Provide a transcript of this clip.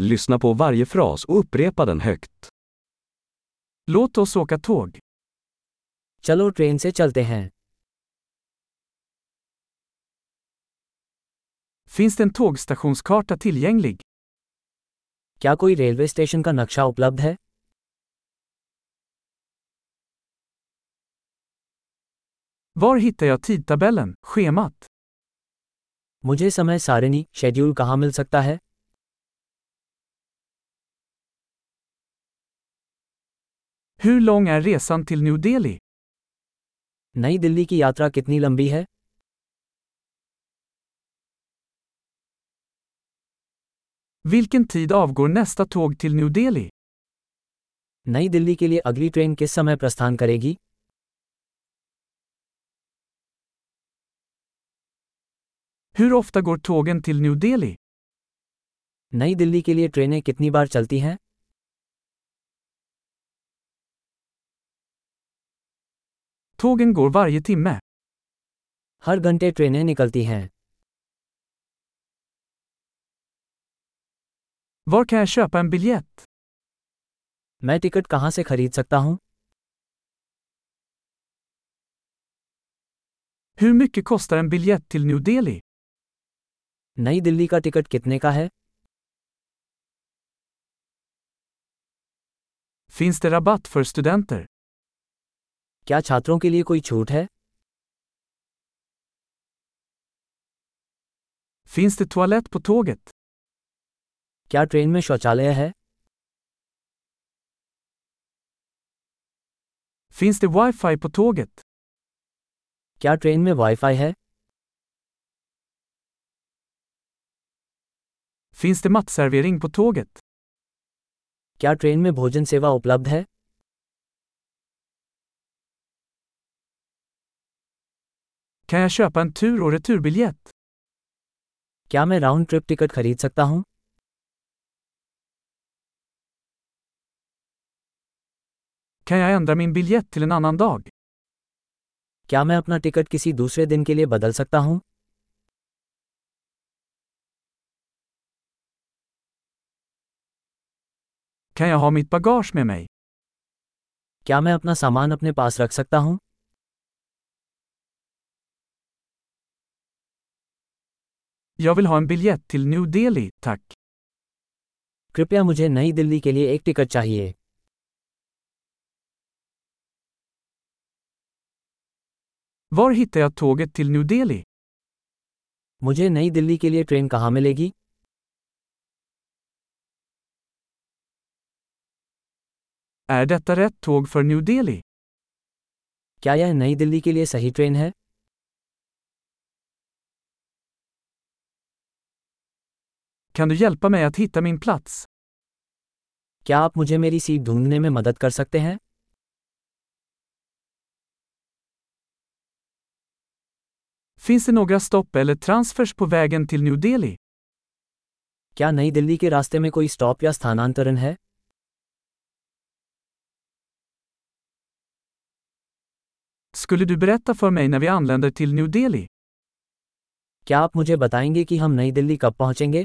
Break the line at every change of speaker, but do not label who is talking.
Lyssna på varje fras och upprepa den högt. Låt oss åka tåg.
चलो train से चलते हैं
Finns det en tågstationskarta tillgänglig?
क्या कोई रेलवे स्टेशन का नक्शा उपलब्ध है
Var hittar jag tidtabellen, schemat?
मुझे समय सारिणी शेड्यूल कहाँ मिल सकता है
Hur lång är resan till New Delhi?
नई दिल्ली की यात्रा कितनी लंबी है
Vilken tid avgår nästa tåg till New Delhi?
नई दिल्ली के लिए अगली ट्रेन किस समय प्रस्थान करेगी
Hur ofta går tågen till New Delhi?
नई दिल्ली के लिए ट्रेनें कितनी बार चलती हैं
Tågen går varje timme.
हर घंटे ट्रेनें निकलती हैं
Var kan jag köpa en biljett?
मैं टिकट कहाँ से खरीद सकता हूँ
Hur mycket kostar en biljett till New Delhi?
नई दिल्ली का टिकट कितने का है
Finns det rabatt för studenter?
क्या छात्रों के लिए कोई छूट है
Finns det toalett på tåget?
क्या ट्रेन में शौचालय है
Finns det wifi på tåget?
क्या ट्रेन में वाईफाई है
Finns det matservering på tåget?
क्या ट्रेन में भोजन सेवा उपलब्ध है
Kan jag köpa en tur och returbiljett?
क्या मैं राउंड ट्रिप टिकट खरीद सकता हूँ
Kan jag ändra min biljett till en annan dag?
क्या मैं अपना टिकट किसी दूसरे दिन के लिए बदल सकता हूँ
Kan jag ha mitt bagage med mig?
क्या मैं अपना सामान अपने पास रख सकता हूँ
Jag vill ha en biljett till New Delhi, tack.
कृपया मुझे नई दिल्ली के लिए एक टिकट चाहिए
Var hittar jag tåget till New Delhi?
मुझे नई दिल्ली के लिए ट्रेन कहाँ मिलेगी
Är detta rätt tåg för New Delhi?
क्या यह नई दिल्ली के लिए सही ट्रेन है
Kan du hjälpa mig att hitta min plats?
क्या आप मुझे मेरी सीट ढूंढने में मदद कर सकते हैं
Finns det några stopp eller transfers på vägen till New Delhi?
क्या नई दिल्ली के रास्ते में कोई स्टॉप या स्थानांतरण है
Skulle du berätta för mig när vi anländer till New Delhi?
क्या आप मुझे बताएंगे कि हम नई दिल्ली कब पहुंचेंगे